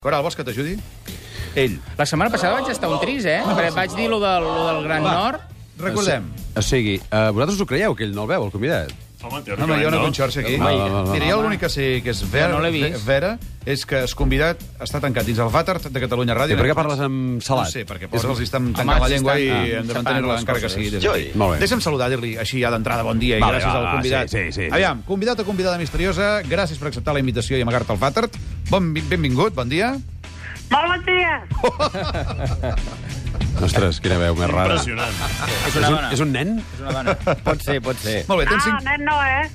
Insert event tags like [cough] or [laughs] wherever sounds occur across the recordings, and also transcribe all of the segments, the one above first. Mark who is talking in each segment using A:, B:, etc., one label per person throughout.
A: Coral, vols que t'ajudi? Ell.
B: La setmana passada vaig estar un tris, eh? Perquè vaig dir lo del, lo del Gran
A: Va.
B: Nord.
A: Recordem.
C: O sigui, eh, vosaltres ho creieu, que ell no el veu, el convidat?
D: Home,
A: No, no, hi ha una conxorxa aquí.
C: Va, va, va, va.
A: Mira, jo l'únic que sé que és ver,
B: No, no l'he
A: ve-
B: vist.
A: vera és que es convidat està tancat dins el vàter de Catalunya
C: I
A: Ràdio.
C: per què parles amb
A: No
C: salat?
A: sé, perquè posa els estan tancant la
B: Home,
A: llengua i
B: s'estan, ah,
A: hem de
B: separant
A: mantenir-la
B: les
A: encara que
B: coses.
A: sigui.
D: Jo-
C: Molt bé.
A: Deixa'm saludar, dir-li així ja d'entrada bon dia i
C: Vale,
A: gràcies
C: va,
A: al
C: va,
A: convidat.
C: sí, sí, sí.
A: Aviam, convidat a convidada misteriosa, gràcies per acceptar la invitació i amagar-te al vàter. Bon, benvingut, bon dia.
E: Molt bon dia.
A: Oh,
C: Ostres, quina veu més rara. És
D: Impressionant.
B: És
C: un,
B: una dona.
C: és un nen?
B: És una dona. Pot ser, pot ser.
A: Molt bé, tens
E: Ah,
A: cinc...
E: nen no, eh?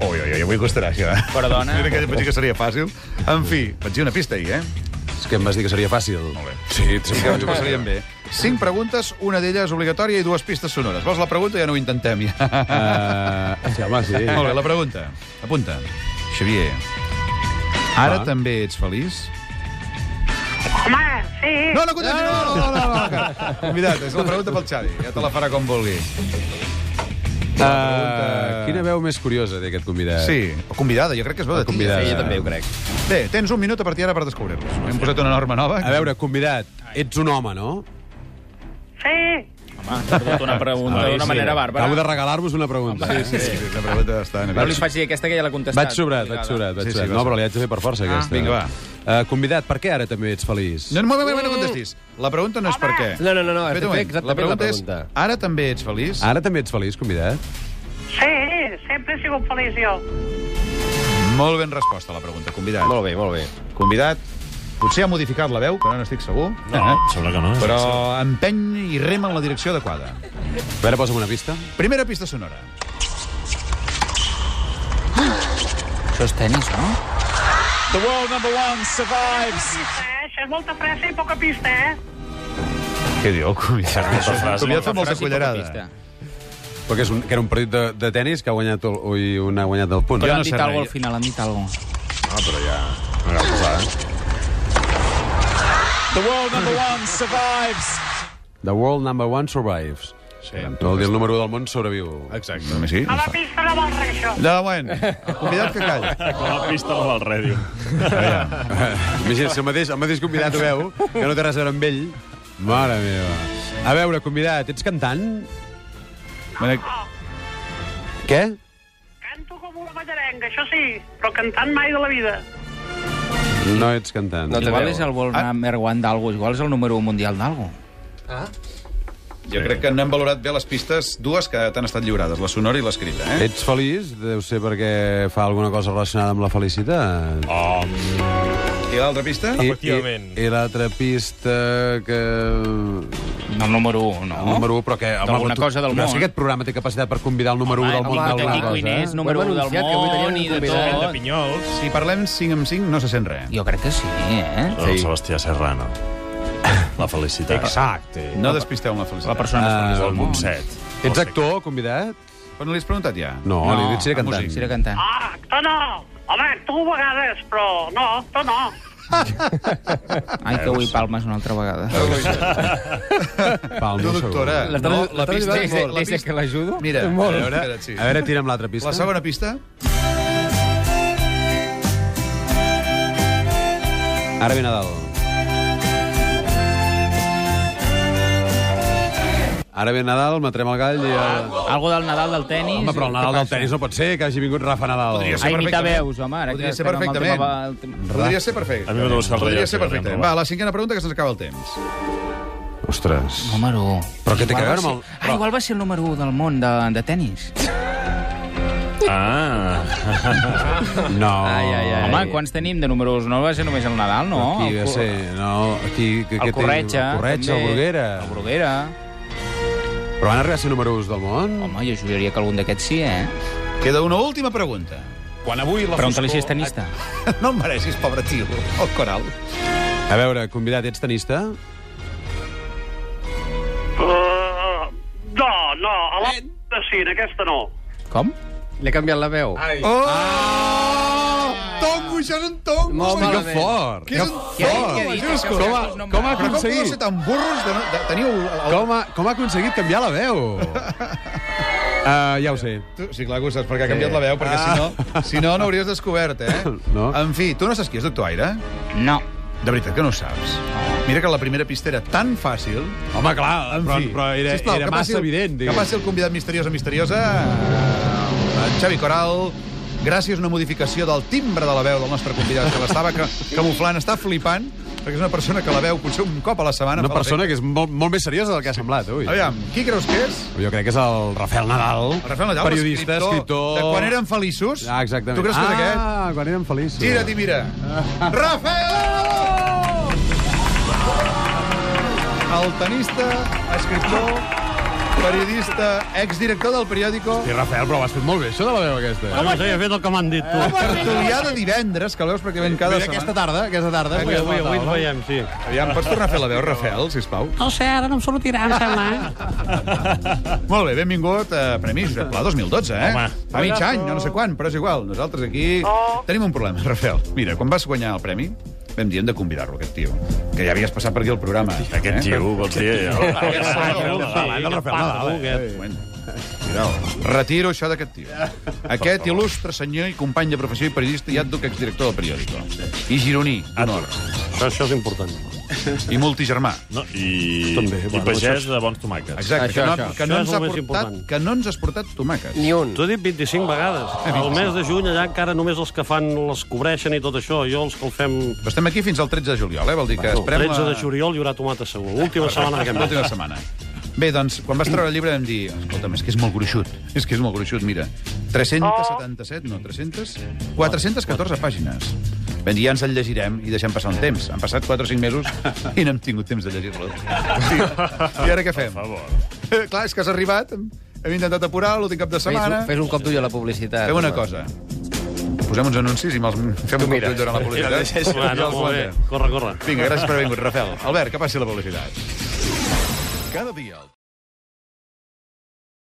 A: Ui, ui, ui, avui costarà, això, eh?
B: Perdona.
A: Mira que pensé que seria fàcil. En fi, vaig dir una pista ahir, eh?
C: És que em vas dir que seria fàcil. Molt bé. Sí,
A: Sí que ens ho
C: sí.
A: passaríem bé. Cinc preguntes, una d'elles obligatòria i dues pistes sonores. Vols la pregunta? Ja no ho intentem. Ja.
C: Uh, Eh, sí, home, sí.
A: [laughs] Molt bé, la pregunta. Apunta. Xavier, ara
C: Va.
A: també ets feliç?
E: Home, sí.
A: No, no, contestis, no, no, no, no, no. Convidat, és la pregunta pel Xavi. Ja te la farà com vulgui.
C: Uh, Eh, quina veu més curiosa té aquest convidat?
A: Sí, Eh. o convidada, jo crec que es veu de
C: Convidada.
A: tia.
B: eh,
C: Sí, jo també ho
A: crec. Bé, tens un minut a partir ara per descobrir-los. Hem posat una norma nova.
C: A veure, convidat, ets un home, no?
E: Sí.
B: Home, ah, t'ha portat una pregunta d'una manera bàrbara.
C: Acabo de regalar-vos una pregunta.
A: Sí, sí, sí, una pregunta bastant...
B: No li faci aquesta que ja l'ha contestat.
C: Vaig sobrat, vaig sobrat, vaig
A: Sí, sí,
C: sobrat.
A: vas
C: No,
A: sobrat.
C: però li haig de fer per
B: Ah.
C: força, aquesta.
A: Vinga, va.
C: Uh, convidat, per què ara també ets feliç?
A: No, no, no, no, no contestis. La pregunta no és per què.
F: No, no, no, no, has de
A: Espera un
F: fer
A: moment.
F: exactament
A: la pregunta
F: la
A: és,
F: pregunta.
A: ara també ets feliç?
C: Ara també ets feliç, convidat?
E: Sí, sempre he sigut feliç jo.
A: Molt ben resposta a la pregunta, convidat.
F: Molt bé, molt bé.
A: Convidat, potser ha modificat la veu, que ara no n'estic segur, Eh?
D: No, Eh? sembla que no.
A: però empeny i rema en la direcció adequada.
C: A veure, posa'm una pista.
A: Primera pista sonora.
B: Això és tenis, no?
E: Pista, eh? Això és molta pressa i poca pista, eh?
A: Què diu el convidat?
D: Molta
A: convidat
D: frase,
A: fa
D: molta
A: molta
B: Frase i poca
A: cullerada.
B: pista.
C: Però que, és un, que era un partit de, de tennis que ha guanyat el, ui, un ha guanyat el punt.
B: Però
A: no
B: han
A: sé
B: dit
A: res.
B: alguna al final, han dit alguna
C: The world number one survives.
A: Sí,
C: Vol dir el número 1 del món sobreviu.
A: Exacte. Només sí.
E: A la pista no vol res, això.
A: De moment, el convidat que calla.
D: Com a pista no val ràdio.
C: Imagina't, si el mateix, el mateix convidat ho veu, que no té res a veure amb ell. Mare meva. A veure, convidat, ets cantant?
A: Bueno,
C: Què?
E: Canto com una ballarenga, això sí, però cantant mai de la vida.
C: No ets cantant.
F: No te Ah.
B: Igual
F: veu.
B: és el Wolverhampton One d'algo, igual és el número 1 mundial d'algo.
A: jo crec que no hem valorat bé les pistes, dues que t'han estat lliurades, la sonora i l'escrita, eh?
C: Ets feliç? Deu ser perquè fa alguna cosa relacionada amb la felicitat.
D: Oh,
A: I l'altra pista?
C: I, i,
D: efectivament.
C: i l'altra pista que...
B: No, el número 1, no.
C: El número 1, però que... home,
B: Oh? D'alguna
C: tu-
B: cosa del
C: però és
B: món.
C: que aquest programa té capacitat per convidar el número 1 del món
B: home,
C: d'alguna
B: Toni
C: cosa.
B: Cuinés, número
F: eh? Ho hem
B: 1 del
F: anunciat, que avui
B: món
F: teníem
B: i
F: un
B: de
F: convidat
D: de
B: tot.
D: pinyols.
A: Si parlem 5 amb 5 no se sent res.
B: Jo crec que sí, eh?
D: El Sebastià Serrano. La felicitat.
C: Exacte.
A: No despisteu amb la felicitat.
B: La persona més feliç
D: És
B: del
D: el
B: món.
D: Montset.
C: Ets actor, convidat?
A: Però no li has preguntat ja?
C: No, no li he dit si era
A: a
C: cantant.
A: músic.
B: Sí, era cantant.
E: Ah, tu no. Home, tu a vegades, però no, tu no.
B: Ai, que avui palmes una altra vegada.
C: Palma,
A: No,
C: segur.
A: doctora,
B: La
A: no,
B: tra-
A: la
B: la tra-
A: pista...
B: deixa-
A: la
B: deixa
A: pista-
B: que l'ajudo?
A: Mira, a
C: A
A: veure,
C: veure,
A: espera't, sí.
C: a veure, tira'm l'altra pista.
A: La segona pista?
C: Ara ve Nadal. Ara ve Nadal, matrem el gall i... El...
A: Ah,
B: Algo del Nadal del tenis.
C: Home, però el Nadal del tenis no pot ser que hagi vingut Rafa Nadal.
A: Podria ser.
B: A imitar
A: perfectament.
B: veus, home. Ara
A: Podria
B: que
A: ser
B: estem amb el
A: perfectament.
B: tema- el tema-
A: Podria ser perfecte.
D: A mi m'ha de buscar el
A: Podria
D: rellotge,
A: ser
D: que
A: perfecte.
D: anem
A: Va,
D: robat.
A: la cinquena pregunta, que se'ns acaba el temps.
C: Ostres.
B: Número 1.
C: Però què té a veure amb el-
B: Ah, igual va ser el número 1 del món de, de tennis.
D: Ah,
C: No.
B: Home, quants tenim de números? No va ser només el Nadal, no? el,
C: Aquí, ja
B: Cor-
C: sé, no, aquí, que,
B: el
C: que
B: Corretja.
C: El Corretja, el
B: també.
C: Bruguera.
B: El Bruguera.
C: Però van arribar a ser número 1 del món?
B: Home, jo juraria que algun d'aquests sí, eh?
A: Queda una última pregunta. [laughs]
C: quan avui la
B: Pregunta-li si és tenista.
A: No em mereixis, pobre tio, el coral.
C: A veure, convidat, ets tenista?
A: Oh.
E: Uh, no, no, a la pista sí, en aquesta no.
B: Com?
F: Li ha canviat la veu. Ai,
A: Oh! Tongo, això és un tongo!
F: Molt
C: Que
F: malament.
C: fort!
A: Que és un
B: Què ha dit?
A: tongo!
B: Què ha dit?
A: Jesús,
B: Que
A: Com,
B: els
A: ha,
B: altres no em
C: com ha
B: van.
A: però com podeu
C: aconseguit?
A: ser tan burros de, no, de teniu... El, el,
C: Com ha, com ha aconseguit canviar la [laughs] veu? uh, ja ho sé.
A: Tu, sí, clar que ho saps, perquè ha canviat la veu,
B: Ah.
A: [laughs]
B: [laughs]
A: perquè si no, si no, no hauries descobert, eh?
C: No.
A: En fi, tu no saps qui és Doctor Aire?
B: No.
A: De veritat que no ho saps. Mira que la primera pista era tan fàcil...
C: Home, clar, en
A: Però,
C: fi.
A: però era, Sisplau, era
C: era
A: que passi,
C: massa
A: el,
C: evident,
A: Que
C: diguem.
A: passi el convidat misteriós o misteriosa, el Xavi Coral, gràcies a una modificació del timbre de la veu del nostre convidat, que l'estava ca- camuflant, està flipant, perquè és una persona que la veu potser un cop a la setmana.
C: Una
A: fa
C: persona que és molt, molt més seriosa del que ha semblat, avui.
A: l'efecte. Aviam, qui creus que és?
C: Jo crec que és el Rafael Nadal.
A: El Rafael Nadal,
C: periodista, escriptor...
A: De quan eren feliços.
C: Ah, exactament.
A: Tu creus que és
C: ah,
A: aquest?
C: Ah, quan érem feliços.
A: Gira't i mira. Rafael! El tenista, escriptor, periodista, exdirector del periòdico,
C: Sí, Rafael, però ho has fet molt bé, això de la veu aquesta.
D: No sé, he fet el que m'han dit, tu.
A: tertulià de divendres, que el veus pràcticament cada
C: Mira, aquesta
A: setmana.
C: tarda, aquesta tarda.
A: Avui, avui, avui ens
C: veiem, sí.
A: Aviam, pots tornar a fer la veu, Rafael, sisplau?
F: No sé, ara no em sortirà,
A: [laughs]
F: em sembla. eh?
A: Molt bé, benvingut a Premi Josep Pla 2012, eh?
D: Home.
A: Fa mig any, no, no sé quan, però és igual. Nosaltres aquí
E: Oh.
A: tenim un problema, Rafael. Mira, quan vas guanyar el premi, vam dir, hem de convidar-lo, aquest tio. Que ja havies passat per aquí el programa. eh?
D: Aquest tio, vols dir... eh?
A: Aquest tio.
D: El Rafael Nadal, eh?
A: Bueno, mireu, retiro això d'aquest tio. Aquest il·lustre senyor i company de professió i periodista i ja et duc exdirector del periòdico. I gironí, d'honor.
G: Això, això és important.
A: I multigermà.
D: No, i,
G: També,
D: i
G: bueno,
D: pagès de bons tomàquets.
A: Exacte,
B: Això,
A: que, no,
B: això.
A: que, no
G: Això és
A: ens
G: el
A: ha
G: més
A: portat,
G: important.
A: que no ens has portat tomàquets.
B: Ni un.
G: T'ho he dit 25
A: Ah,
G: vegades. Al mes de juny allà encara només els que fan les cobreixen i tot això. Jo els que el fem...
A: Però estem aquí fins al 13 de juliol, eh? Vol dir que
G: El
A: esperem
G: 13 de
A: la-
G: juliol hi haurà tomata segur. Última setmana
A: [laughs]
G: d'aquest mes.
A: L'última setmana. Bé, doncs, quan vas treure el llibre vam dir... Escolta'm, és que és molt gruixut. És que és molt gruixut, mira. 377, no, 300... 414 pàgines. Vam dir, ja ens el llegirem i deixem passar un temps. Han passat 4 o 5 mesos i no hem tingut temps de llegir-lo. Sí. I ara què fem? [laughs] Clar, és que has arribat, hem intentat apurar l'últim cap de
B: Fes,
A: setmana...
B: un- fes un cop d'ull a la publicitat.
A: Fem una
B: home.
A: cosa. Posem uns anuncis i me'ls fem un cop
G: [laughs]
A: durant la publicitat.
G: Ah, no, molt bé. Corre, corre.
A: Vinga, gràcies per haver vingut, Rafel. Albert, que passi la publicitat. Cada dia